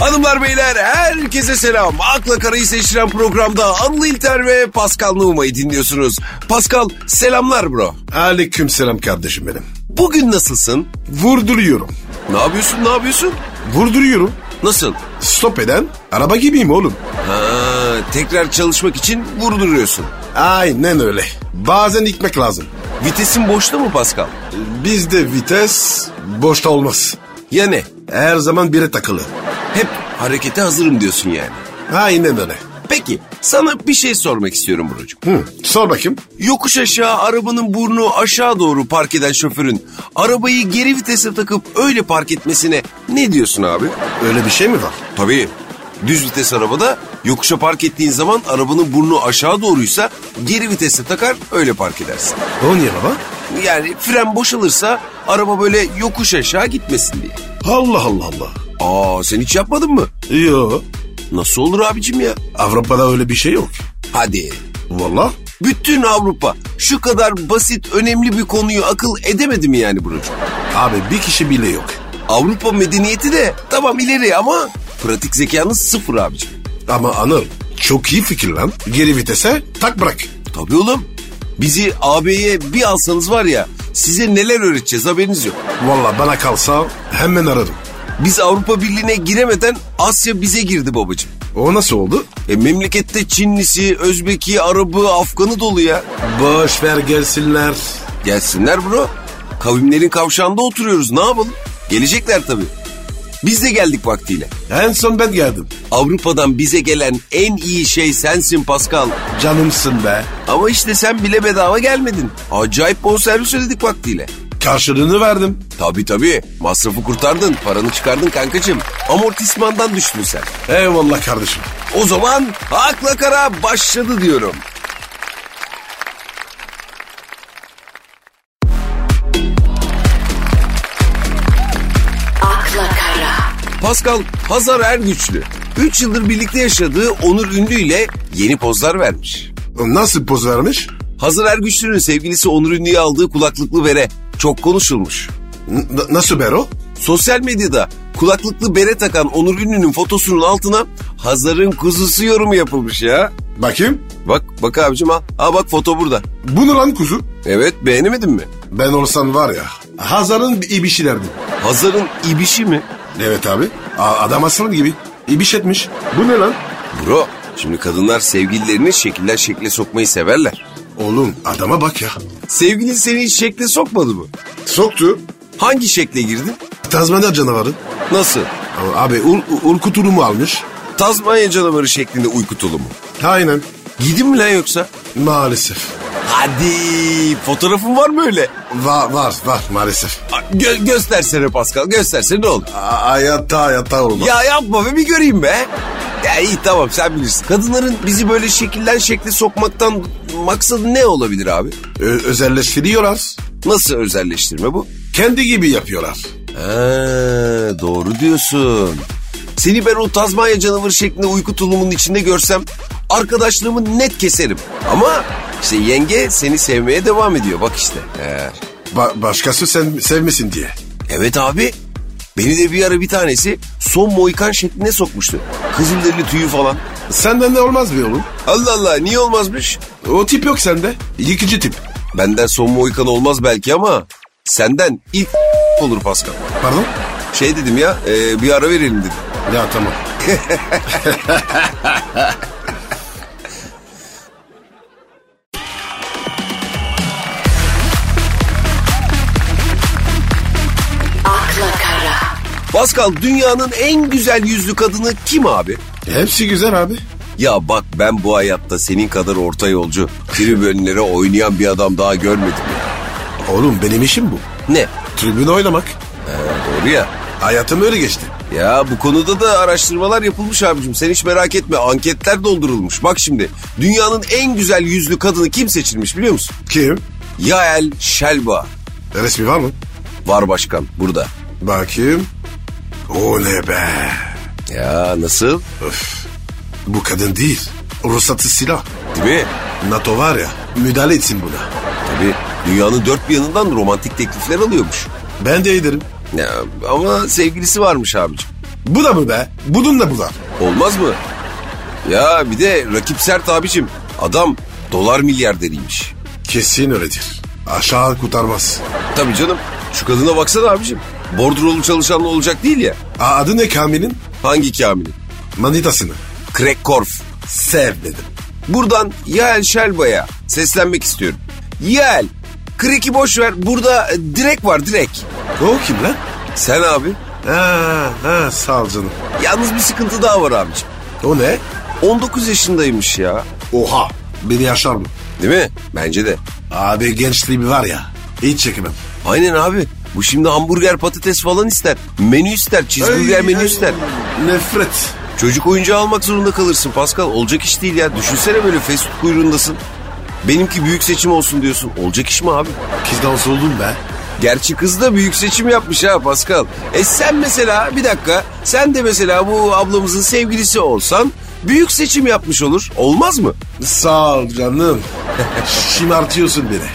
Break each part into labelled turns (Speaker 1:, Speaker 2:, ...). Speaker 1: Hanımlar beyler herkese selam. Akla Karayı Seçtiren programda Anıl İlter ve Pascal Numa'yı dinliyorsunuz. Pascal selamlar bro.
Speaker 2: Aleyküm selam kardeşim benim.
Speaker 1: Bugün nasılsın?
Speaker 2: Vurduruyorum.
Speaker 1: Ne yapıyorsun ne yapıyorsun?
Speaker 2: Vurduruyorum.
Speaker 1: Nasıl?
Speaker 2: Stop eden araba gibiyim oğlum.
Speaker 1: Ha, tekrar çalışmak için vurduruyorsun.
Speaker 2: Aynen öyle. Bazen ikmek lazım.
Speaker 1: Vitesin boşta mı Pascal?
Speaker 2: Bizde vites boşta olmaz.
Speaker 1: Ya ne?
Speaker 2: Her zaman bire takılı.
Speaker 1: Hep harekete hazırım diyorsun yani.
Speaker 2: Aynen öyle.
Speaker 1: Peki sana bir şey sormak istiyorum Buracığım.
Speaker 2: Hı, sor bakayım.
Speaker 1: Yokuş aşağı arabanın burnu aşağı doğru park eden şoförün arabayı geri vitese takıp öyle park etmesine ne diyorsun abi?
Speaker 2: Öyle bir şey mi var?
Speaker 1: Tabii düz vites arabada yokuşa park ettiğin zaman arabanın burnu aşağı doğruysa geri vitese takar öyle park edersin.
Speaker 2: O niye baba?
Speaker 1: Yani fren boşalırsa araba böyle yokuş aşağı gitmesin diye.
Speaker 2: Allah Allah Allah.
Speaker 1: Aa sen hiç yapmadın mı?
Speaker 2: Yo.
Speaker 1: Nasıl olur abicim ya?
Speaker 2: Avrupa'da öyle bir şey yok.
Speaker 1: Hadi
Speaker 2: Valla.
Speaker 1: bütün Avrupa şu kadar basit önemli bir konuyu akıl edemedi mi yani Buracığım?
Speaker 2: Abi bir kişi bile yok.
Speaker 1: Avrupa medeniyeti de tamam ileri ama pratik zekanız sıfır abicim.
Speaker 2: Ama Anıl çok iyi fikir lan. Geri vitese tak bırak.
Speaker 1: Tabii oğlum. Bizi AB'ye bir alsanız var ya size neler öğreteceğiz haberiniz yok.
Speaker 2: Valla bana kalsa hemen ararım.
Speaker 1: Biz Avrupa Birliği'ne giremeden Asya bize girdi babacığım.
Speaker 2: O nasıl oldu?
Speaker 1: E, memlekette Çinlisi, Özbeki, Arabı, Afganı dolu ya.
Speaker 2: Boş ver gelsinler.
Speaker 1: Gelsinler bro. Kavimlerin kavşağında oturuyoruz ne yapalım? Gelecekler tabii. Biz de geldik vaktiyle.
Speaker 2: En son ben geldim.
Speaker 1: Avrupa'dan bize gelen en iyi şey sensin Pascal.
Speaker 2: Canımsın be.
Speaker 1: Ama işte sen bile bedava gelmedin. Acayip bonservis ödedik vaktiyle.
Speaker 2: Karşılığını verdim.
Speaker 1: Tabii tabii. Masrafı kurtardın, paranı çıkardın kankacığım. Amortismandan düştün sen.
Speaker 2: Eyvallah kardeşim.
Speaker 1: O zaman akla kara başladı diyorum.
Speaker 3: Akla Kara.
Speaker 1: Pascal Hazar Ergüçlü. 3 yıldır birlikte yaşadığı Onur Ünlü ile yeni pozlar vermiş.
Speaker 2: Nasıl poz vermiş?
Speaker 1: Hazar Ergüçlü'nün sevgilisi Onur Ünlü'ye aldığı kulaklıklı bere çok konuşulmuş.
Speaker 2: N- nasıl Bero?
Speaker 1: Sosyal medyada kulaklıklı bere takan Onur Ünlü'nün fotosunun altına Hazar'ın kuzusu yorumu yapılmış ya.
Speaker 2: Bakayım.
Speaker 1: Bak bak abicim ha. Ha bak foto burada.
Speaker 2: Bunu lan kuzu.
Speaker 1: Evet beğenemedin mi?
Speaker 2: Ben olsam var ya. Hazar'ın bir ibişi derdim.
Speaker 1: Hazar'ın ibişi mi?
Speaker 2: Evet abi. A- adam aslan gibi. İbiş etmiş. Bu ne lan?
Speaker 1: Bro şimdi kadınlar sevgililerini şekiller şekle sokmayı severler.
Speaker 2: Oğlum adama bak ya.
Speaker 1: Sevgilin seni hiç şekle sokmadı mı?
Speaker 2: Soktu.
Speaker 1: Hangi şekle girdin?
Speaker 2: Tazmanya canavarı.
Speaker 1: Nasıl?
Speaker 2: Ama Abi ur, urku turumu almış.
Speaker 1: Tazmanya canavarı şeklinde uyku tulumu.
Speaker 2: Aynen.
Speaker 1: Gidin mi lan yoksa?
Speaker 2: Maalesef.
Speaker 1: Hadi fotoğrafın var mı öyle?
Speaker 2: Var var var maalesef.
Speaker 1: A- Gö- göstersene Pascal göstersene ne olur.
Speaker 2: A- hayatta hayatta olmaz.
Speaker 1: Ya yapma be bir göreyim be. Ya iyi tamam sen bilirsin. Kadınların bizi böyle şekilden şekle sokmaktan maksadı ne olabilir abi?
Speaker 2: Ö- özelleştiriyorlar.
Speaker 1: Nasıl özelleştirme bu?
Speaker 2: Kendi gibi yapıyorlar.
Speaker 1: Ha, doğru diyorsun. Seni ben o Tazmanya canavarı şeklinde uyku tulumunun içinde görsem arkadaşlığımı net keserim. Ama işte yenge seni sevmeye devam ediyor bak işte. He.
Speaker 2: Ba- başkası sen sevmesin diye.
Speaker 1: Evet abi beni de bir ara bir tanesi son moikan şekline sokmuştu. Kızılderili tüyü falan.
Speaker 2: Senden de olmaz mı oğlum?
Speaker 1: Allah Allah niye olmazmış?
Speaker 2: O tip yok sende. Yıkıcı tip.
Speaker 1: Benden son moikan olmaz belki ama senden ilk olur Pascal.
Speaker 2: Pardon?
Speaker 1: Şey dedim ya e, bir ara verelim dedim.
Speaker 2: Ya tamam.
Speaker 3: Akla Kara.
Speaker 1: Pascal dünyanın en güzel yüzlü kadını kim abi?
Speaker 2: Hepsi güzel abi.
Speaker 1: Ya bak ben bu hayatta senin kadar orta yolcu tribünlere oynayan bir adam daha görmedim ya.
Speaker 2: Oğlum benim işim bu.
Speaker 1: Ne?
Speaker 2: Tribün oynamak.
Speaker 1: Doğru ya.
Speaker 2: Hayatım öyle geçti.
Speaker 1: Ya bu konuda da araştırmalar yapılmış abicim. Sen hiç merak etme anketler doldurulmuş. Bak şimdi dünyanın en güzel yüzlü kadını kim seçilmiş biliyor musun?
Speaker 2: Kim?
Speaker 1: Yael Şelba.
Speaker 2: Resmi var mı?
Speaker 1: Var başkan burada.
Speaker 2: Bakayım. O ne be?
Speaker 1: Ya nasıl?
Speaker 2: Öf. Bu kadın değil. Ruhsatı silah.
Speaker 1: Değil mi?
Speaker 2: NATO var ya müdahale etsin buna.
Speaker 1: Tabii dünyanın dört bir yanından romantik teklifler alıyormuş.
Speaker 2: Ben de ederim.
Speaker 1: Ya, ama sevgilisi varmış abicim.
Speaker 2: Bu da mı be? Bunun da bu da.
Speaker 1: Olmaz mı? Ya bir de rakip sert abicim. Adam dolar milyarderiymiş.
Speaker 2: Kesin öyledir. Aşağı kurtarmaz.
Speaker 1: Tabii canım. Şu kadına baksana abicim. Bordrolu çalışanla olacak değil ya.
Speaker 2: Aa, adı ne Kamil'in?
Speaker 1: Hangi Kamil'in?
Speaker 2: Manitasını.
Speaker 1: Craig Korf.
Speaker 2: Sev dedim.
Speaker 1: Buradan Yael Şelba'ya seslenmek istiyorum. Yael, Craig'i boş ver. Burada e, direk var direk.
Speaker 2: O kim lan?
Speaker 1: Sen abi.
Speaker 2: Ha, ha sağ ol canım.
Speaker 1: Yalnız bir sıkıntı daha var abicim.
Speaker 2: O ne?
Speaker 1: 19 yaşındaymış ya.
Speaker 2: Oha. Beni yaşar mı?
Speaker 1: Değil mi? Bence de.
Speaker 2: Abi gençliğim var ya. Hiç çekemem.
Speaker 1: Aynen abi. Bu şimdi hamburger patates falan ister. Menü ister. Cheeseburger
Speaker 2: Ay,
Speaker 1: menü
Speaker 2: ay,
Speaker 1: ister.
Speaker 2: Nefret.
Speaker 1: Çocuk oyuncağı almak zorunda kalırsın Pascal. Olacak iş değil ya. Düşünsene böyle fast food kuyruğundasın. Benimki büyük seçim olsun diyorsun. Olacak iş mi abi?
Speaker 2: Kız dans oldum be.
Speaker 1: Gerçi kız da büyük seçim yapmış ha Pascal. E sen mesela bir dakika sen de mesela bu ablamızın sevgilisi olsan büyük seçim yapmış olur. Olmaz mı?
Speaker 2: Sağ ol canım. Şımartıyorsun beni.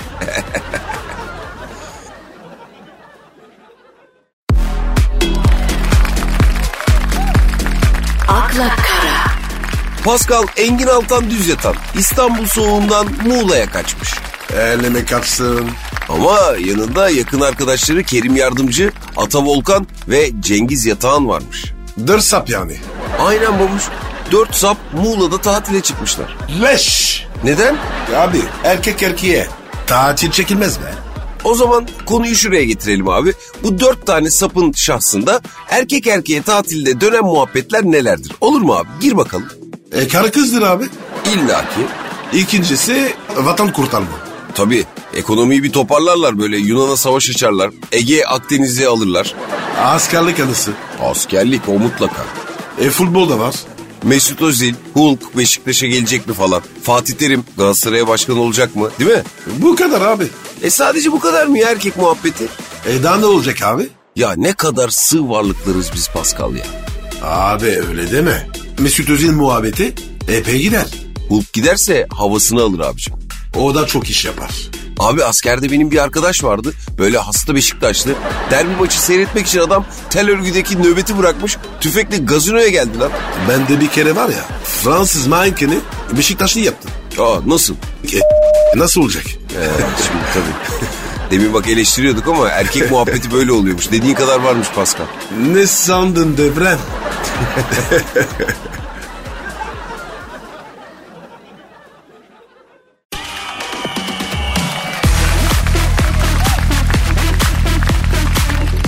Speaker 3: akla kara,
Speaker 1: Pascal Engin Altan düz yatan İstanbul soğuğundan Muğla'ya kaçmış.
Speaker 2: Elleme kaçsın.
Speaker 1: Ama yanında yakın arkadaşları Kerim Yardımcı, Ata Volkan ve Cengiz Yatağan varmış.
Speaker 2: Dır sap yani.
Speaker 1: Aynen babuş. Dört sap Muğla'da tatile çıkmışlar.
Speaker 2: Leş.
Speaker 1: Neden?
Speaker 2: Abi erkek erkeğe. Tatil çekilmez be.
Speaker 1: O zaman konuyu şuraya getirelim abi. Bu dört tane sapın şahsında erkek erkeğe tatilde dönen muhabbetler nelerdir? Olur mu abi? Gir bakalım.
Speaker 2: E karı kızdır abi.
Speaker 1: İlla ki.
Speaker 2: İkincisi vatan kurtarma.
Speaker 1: Tabii ekonomiyi bir toparlarlar böyle Yunan'a savaş açarlar. Ege Akdeniz'i alırlar.
Speaker 2: Askerlik anısı.
Speaker 1: Askerlik o mutlaka.
Speaker 2: E futbol da var.
Speaker 1: Mesut Özil, Hulk Beşiktaş'a gelecek mi falan. Fatih Terim Galatasaray'a başkan olacak mı değil mi?
Speaker 2: Bu kadar abi.
Speaker 1: E sadece bu kadar mı ya erkek muhabbeti?
Speaker 2: E daha ne olacak abi?
Speaker 1: Ya ne kadar sığ varlıklarız biz Pascal ya.
Speaker 2: Abi öyle deme. Mesut Özil muhabbeti epey gider.
Speaker 1: Hulk giderse havasını alır abicim.
Speaker 2: O da çok iş yapar.
Speaker 1: Abi askerde benim bir arkadaş vardı. Böyle hasta Beşiktaşlı. Derbi maçı seyretmek için adam tel örgüdeki nöbeti bırakmış. Tüfekle gazinoya geldi lan.
Speaker 2: Ben de bir kere var ya Fransız mankeni Beşiktaşlı yaptım.
Speaker 1: Aa nasıl?
Speaker 2: E, nasıl olacak?
Speaker 1: Ee, şimdi tabii. Demin bak eleştiriyorduk ama erkek muhabbeti böyle oluyormuş. Dediğin kadar varmış Pascal.
Speaker 2: Ne sandın devrem?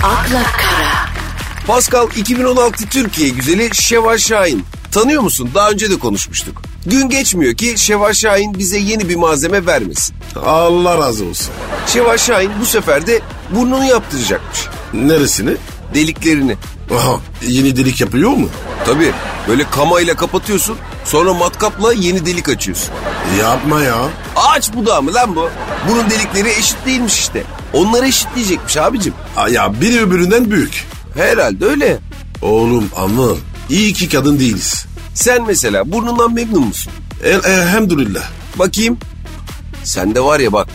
Speaker 3: akla kara,
Speaker 1: Pascal 2016 Türkiye güzeli Şevval Şahin. Tanıyor musun? Daha önce de konuşmuştuk. Gün geçmiyor ki Şevval Şahin bize yeni bir malzeme vermesin.
Speaker 2: Allah razı olsun.
Speaker 1: Şevval Şahin bu sefer de burnunu yaptıracakmış.
Speaker 2: Neresini?
Speaker 1: Deliklerini.
Speaker 2: Aha, yeni delik yapıyor mu?
Speaker 1: Tabii böyle kamayla kapatıyorsun sonra matkapla yeni delik açıyorsun.
Speaker 2: E, Yapma ya.
Speaker 1: Ağaç budağı mı lan bu? Bunun delikleri eşit değilmiş işte. Onları eşitleyecekmiş abicim.
Speaker 2: Aa, Ya biri öbüründen büyük.
Speaker 1: Herhalde öyle.
Speaker 2: Oğlum anıl. İyi ki kadın değiliz.
Speaker 1: Sen mesela burnundan memnun musun?
Speaker 2: El, elhamdülillah.
Speaker 1: Bakayım. Sende var ya bak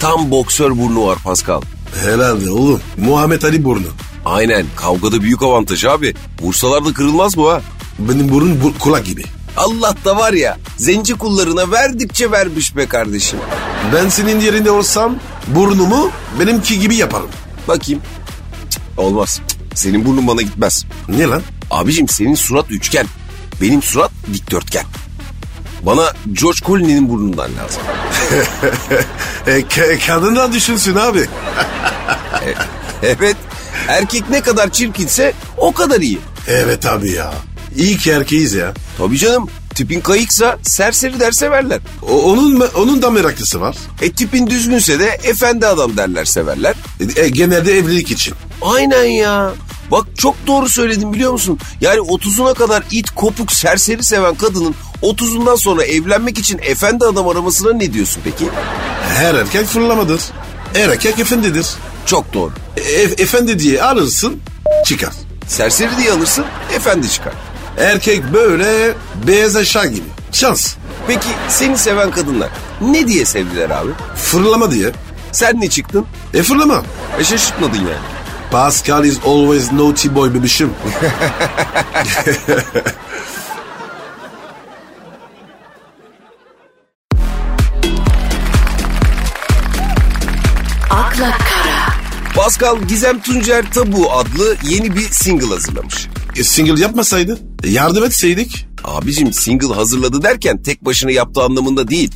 Speaker 1: tam boksör burnu var Pascal.
Speaker 2: Herhalde oğlum. Muhammed Ali burnu.
Speaker 1: Aynen kavgada büyük avantaj abi. Vursalar da kırılmaz bu ha.
Speaker 2: Benim burun bu- kulak gibi.
Speaker 1: Allah da var ya zenci kullarına verdikçe vermiş be kardeşim.
Speaker 2: Ben senin yerinde olsam burnumu benimki gibi yaparım.
Speaker 1: Bakayım. Cık, olmaz. Cık, senin burnun bana gitmez.
Speaker 2: Ne lan?
Speaker 1: Abicim senin surat üçgen. Benim surat dikdörtgen. Bana George Clooney'nin burnundan lazım.
Speaker 2: E, ka- kadından düşünsün abi.
Speaker 1: Evet. Erkek ne kadar çirkinse o kadar iyi.
Speaker 2: Evet abi ya. İyi ki erkeğiz ya.
Speaker 1: Tabii canım. Tipin kayıksa serseri der severler.
Speaker 2: O- onun me- onun da meraklısı var.
Speaker 1: E tipin düzgünse de efendi adam derler severler.
Speaker 2: E, e, genelde evlilik için.
Speaker 1: Aynen ya. Bak çok doğru söyledin biliyor musun? Yani 30'una kadar it, kopuk, serseri seven kadının 30'undan sonra evlenmek için efendi adam aramasına ne diyorsun peki?
Speaker 2: Her erkek fırlamadır. Her erkek efendidir.
Speaker 1: Çok doğru.
Speaker 2: E- e- efendi diye alırsın çıkar.
Speaker 1: Serseri diye alırsın, efendi çıkar.
Speaker 2: Erkek böyle beyaz eşya gibi. Şans.
Speaker 1: Peki seni seven kadınlar ne diye sevdiler abi?
Speaker 2: Fırlama diye.
Speaker 1: Sen ne çıktın?
Speaker 2: E fırlama.
Speaker 1: E şaşırtmadın yani.
Speaker 2: Pascal is always naughty boy bebişim.
Speaker 3: akla kara,
Speaker 1: Pascal Gizem Tuncer Tabu adlı yeni bir single hazırlamış.
Speaker 2: E, single yapmasaydı, e, yardım etseydik.
Speaker 1: Abicim single hazırladı derken tek başına yaptığı anlamında değil.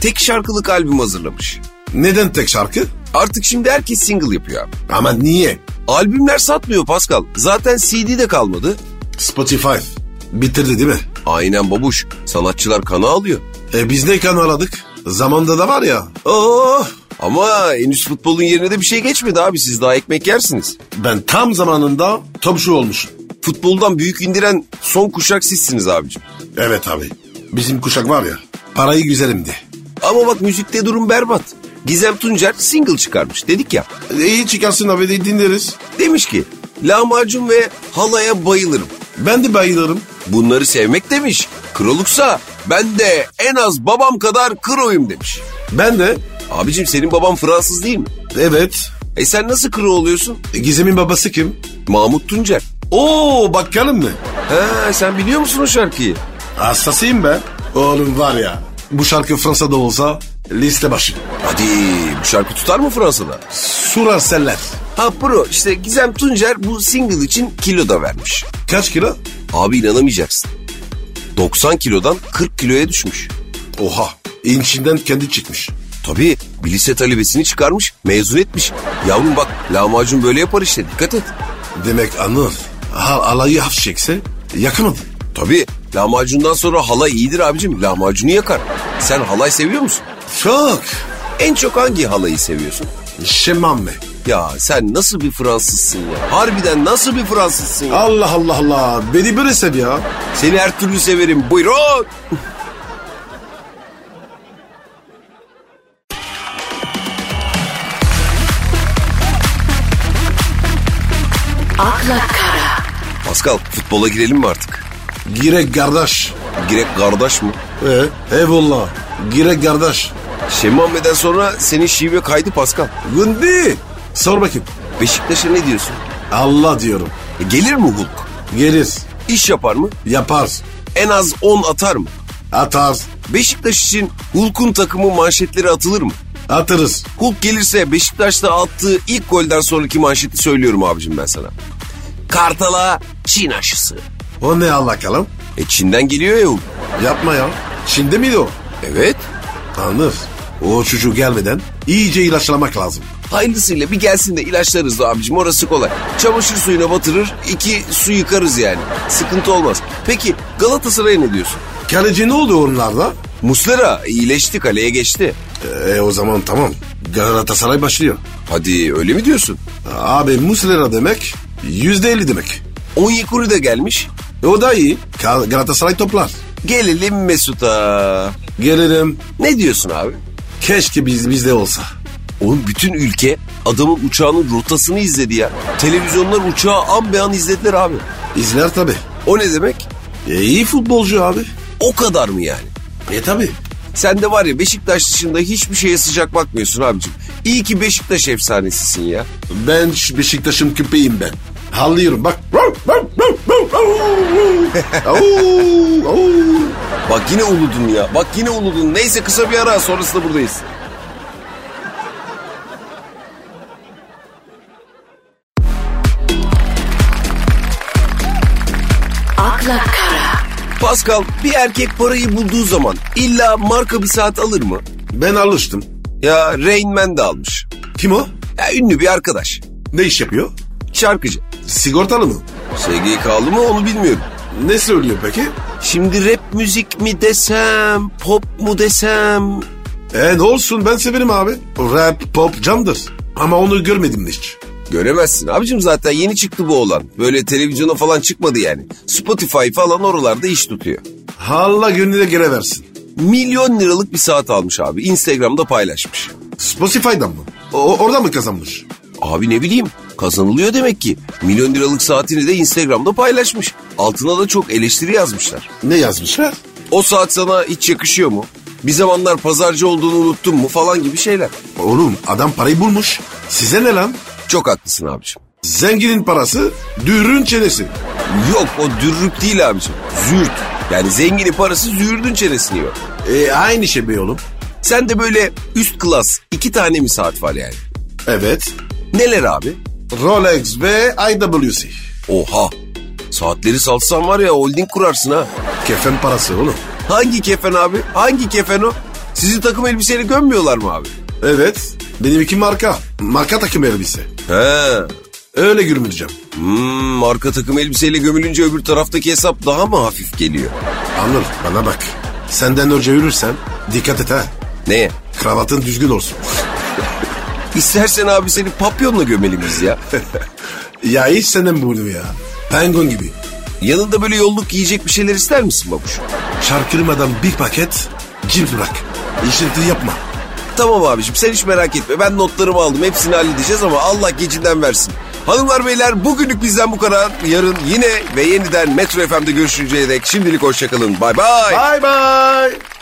Speaker 1: Tek şarkılık albüm hazırlamış.
Speaker 2: Neden tek şarkı?
Speaker 1: Artık şimdi herkes single yapıyor abi.
Speaker 2: Ama niye?
Speaker 1: Albümler satmıyor Pascal. Zaten CD de kalmadı.
Speaker 2: Spotify. Bitirdi değil mi?
Speaker 1: Aynen babuş. Sanatçılar kana alıyor.
Speaker 2: E biz ne kanaladık? Zamanda da var ya.
Speaker 1: Oh! Ama henüz futbolun yerine de bir şey geçmedi abi. Siz daha ekmek yersiniz.
Speaker 2: Ben tam zamanında topçu olmuşum.
Speaker 1: Futboldan büyük indiren son kuşak sizsiniz abicim.
Speaker 2: Evet abi. Bizim kuşak var ya. Parayı güzelimdi.
Speaker 1: Ama bak müzikte durum berbat. Gizem Tuncer single çıkarmış dedik ya.
Speaker 2: E, iyi çıkarsın abi de dinleriz.
Speaker 1: Demiş ki lahmacun ve halaya bayılırım.
Speaker 2: Ben de bayılırım.
Speaker 1: Bunları sevmek demiş. Kroluksa ben de en az babam kadar kroyum demiş.
Speaker 2: Ben de.
Speaker 1: Abicim senin baban Fransız değil mi?
Speaker 2: Evet.
Speaker 1: E sen nasıl kro oluyorsun?
Speaker 2: E, Gizem'in babası kim?
Speaker 1: Mahmut Tuncer.
Speaker 2: Oo bakkalım mı?
Speaker 1: He sen biliyor musun o şarkıyı?
Speaker 2: Hastasıyım ben. Oğlum var ya. Bu şarkı Fransa'da olsa liste başı.
Speaker 1: Hadi bu şarkı tutar mı Fransa'da?
Speaker 2: Surar seller.
Speaker 1: Ha pro işte Gizem Tuncer bu single için kilo da vermiş.
Speaker 2: Kaç kilo?
Speaker 1: Abi inanamayacaksın. 90 kilodan 40 kiloya düşmüş.
Speaker 2: Oha. İnçinden kendi çıkmış.
Speaker 1: Tabii bir lise talebesini çıkarmış mezun etmiş. Yavrum bak lahmacun böyle yapar işte dikkat et.
Speaker 2: Demek anır. Hal alayı hafif çekse yakamadı.
Speaker 1: Tabii lahmacundan sonra halay iyidir abicim lahmacunu yakar. Sen halay seviyor musun?
Speaker 2: Çok.
Speaker 1: En çok hangi halayı seviyorsun?
Speaker 2: Şemam mı?
Speaker 1: Ya sen nasıl bir Fransızsın ya? Harbiden nasıl bir Fransızsın ya?
Speaker 2: Allah Allah Allah. Beni böyle sev ya.
Speaker 1: Seni her türlü severim buyurun.
Speaker 3: akla kara,
Speaker 1: Pascal futbola girelim mi artık?
Speaker 2: Girek kardeş.
Speaker 1: Girek kardeş mi?
Speaker 2: Ee, eyvallah. Girek kardeş.
Speaker 1: Şemame'den Şey sonra senin şive kaydı Pascal.
Speaker 2: Gündi. Sor bakayım.
Speaker 1: Beşiktaş'a ne diyorsun?
Speaker 2: Allah diyorum.
Speaker 1: E, gelir mi Hulk?
Speaker 2: Gelir.
Speaker 1: İş yapar mı?
Speaker 2: Yapar.
Speaker 1: En az 10 atar mı?
Speaker 2: Atar.
Speaker 1: Beşiktaş için Hulk'un takımı manşetleri atılır mı?
Speaker 2: Atarız.
Speaker 1: Hulk gelirse Beşiktaş'ta attığı ilk golden sonraki manşeti söylüyorum abicim ben sana. Kartal'a Çin aşısı.
Speaker 2: O ne alakalım?
Speaker 1: E Çin'den geliyor ya Hulk.
Speaker 2: Yapma ya. Şimdi miydi o?
Speaker 1: Evet.
Speaker 2: Tanrım. O çocuğu gelmeden iyice ilaçlamak lazım.
Speaker 1: Hayırlısıyla bir gelsin de ilaçlarız da abicim orası kolay. Çamaşır suyuna batırır iki su yıkarız yani. Sıkıntı olmaz. Peki Galatasaray'a ne diyorsun?
Speaker 2: Kaleci ne oldu onlarda?
Speaker 1: Muslera iyileşti kaleye geçti.
Speaker 2: Ee, o zaman tamam. Galatasaray başlıyor.
Speaker 1: Hadi öyle mi diyorsun?
Speaker 2: Abi Muslera demek yüzde elli demek.
Speaker 1: Onyekuru da gelmiş.
Speaker 2: E, o da iyi. Ka- Galatasaray toplar.
Speaker 1: Gelelim Mesut'a.
Speaker 2: Gelelim.
Speaker 1: Ne diyorsun abi?
Speaker 2: Keşke biz bizde olsa.
Speaker 1: Oğlum bütün ülke adamın uçağının rotasını izledi ya. Televizyonlar uçağı an be an izlediler abi.
Speaker 2: İzler tabi.
Speaker 1: O ne demek?
Speaker 2: E, iyi futbolcu abi.
Speaker 1: O kadar mı yani?
Speaker 2: E tabi.
Speaker 1: Sen de var ya Beşiktaş dışında hiçbir şeye sıcak bakmıyorsun abicim. İyi ki Beşiktaş efsanesisin ya.
Speaker 2: Ben şu Beşiktaş'ın köpeğim ben. Hallıyorum bak.
Speaker 1: Bak yine uludun ya. Bak yine uludun. Neyse kısa bir ara sonrasında buradayız.
Speaker 3: akla kara,
Speaker 1: Pascal bir erkek parayı bulduğu zaman illa marka bir saat alır mı?
Speaker 2: Ben alıştım.
Speaker 1: Ya Rain Man de almış.
Speaker 2: Kim o?
Speaker 1: Ya ünlü bir arkadaş.
Speaker 2: Ne iş yapıyor?
Speaker 1: Şarkıcı.
Speaker 2: Sigortalı mı?
Speaker 1: SGK'lı mı onu bilmiyorum.
Speaker 2: Ne söylüyor peki?
Speaker 1: Şimdi rap müzik mi desem, pop mu desem?
Speaker 2: E ne olsun ben severim abi. Rap, pop candır. Ama onu görmedim hiç.
Speaker 1: Göremezsin abicim zaten yeni çıktı bu olan. Böyle televizyona falan çıkmadı yani. Spotify falan oralarda iş tutuyor.
Speaker 2: Allah gönlüne gire versin.
Speaker 1: Milyon liralık bir saat almış abi. Instagram'da paylaşmış.
Speaker 2: Spotify'dan mı? O, orada mı kazanmış?
Speaker 1: Abi ne bileyim kazanılıyor demek ki. Milyon liralık saatini de Instagram'da paylaşmış. Altına da çok eleştiri yazmışlar.
Speaker 2: Ne yazmışlar?
Speaker 1: O saat sana hiç yakışıyor mu? Bir zamanlar pazarcı olduğunu unuttun mu falan gibi şeyler.
Speaker 2: Oğlum adam parayı bulmuş. Size ne lan?
Speaker 1: Çok haklısın abicim.
Speaker 2: Zenginin parası, dürün çenesi.
Speaker 1: Yok o dürrük değil abicim. Züğürt. Yani zenginin parası züğürdün çenesini yiyor.
Speaker 2: E aynı şey be oğlum.
Speaker 1: Sen de böyle üst klas iki tane mi saat var yani?
Speaker 2: Evet.
Speaker 1: Neler abi?
Speaker 2: Rolex ve IWC.
Speaker 1: Oha. Saatleri salsan var ya holding kurarsın ha.
Speaker 2: Kefen parası oğlum.
Speaker 1: Hangi kefen abi? Hangi kefen o? Sizi takım elbiseyle gömmüyorlar mı abi?
Speaker 2: Evet. Benim iki marka. Marka takım elbise.
Speaker 1: He.
Speaker 2: Öyle gülmeyeceğim.
Speaker 1: Hmm, marka takım elbiseyle gömülünce öbür taraftaki hesap daha mı hafif geliyor?
Speaker 2: Anıl bana bak. Senden önce yürürsen dikkat et ha.
Speaker 1: Ne?
Speaker 2: Kravatın düzgün olsun.
Speaker 1: İstersen abi seni papyonla gömelim biz ya.
Speaker 2: ya hiç senden bunu ya. Penguin gibi.
Speaker 1: Yanında böyle yolluk yiyecek bir şeyler ister misin babuş?
Speaker 2: Şarkırmadan bir paket cilt bırak. İşinti yapma.
Speaker 1: Tamam abicim sen hiç merak etme. Ben notlarımı aldım. Hepsini halledeceğiz ama Allah gecinden versin. Hanımlar beyler bugünlük bizden bu kadar. Yarın yine ve yeniden Metro FM'de görüşünceye dek şimdilik hoşçakalın. Bay bay.
Speaker 2: Bye bye.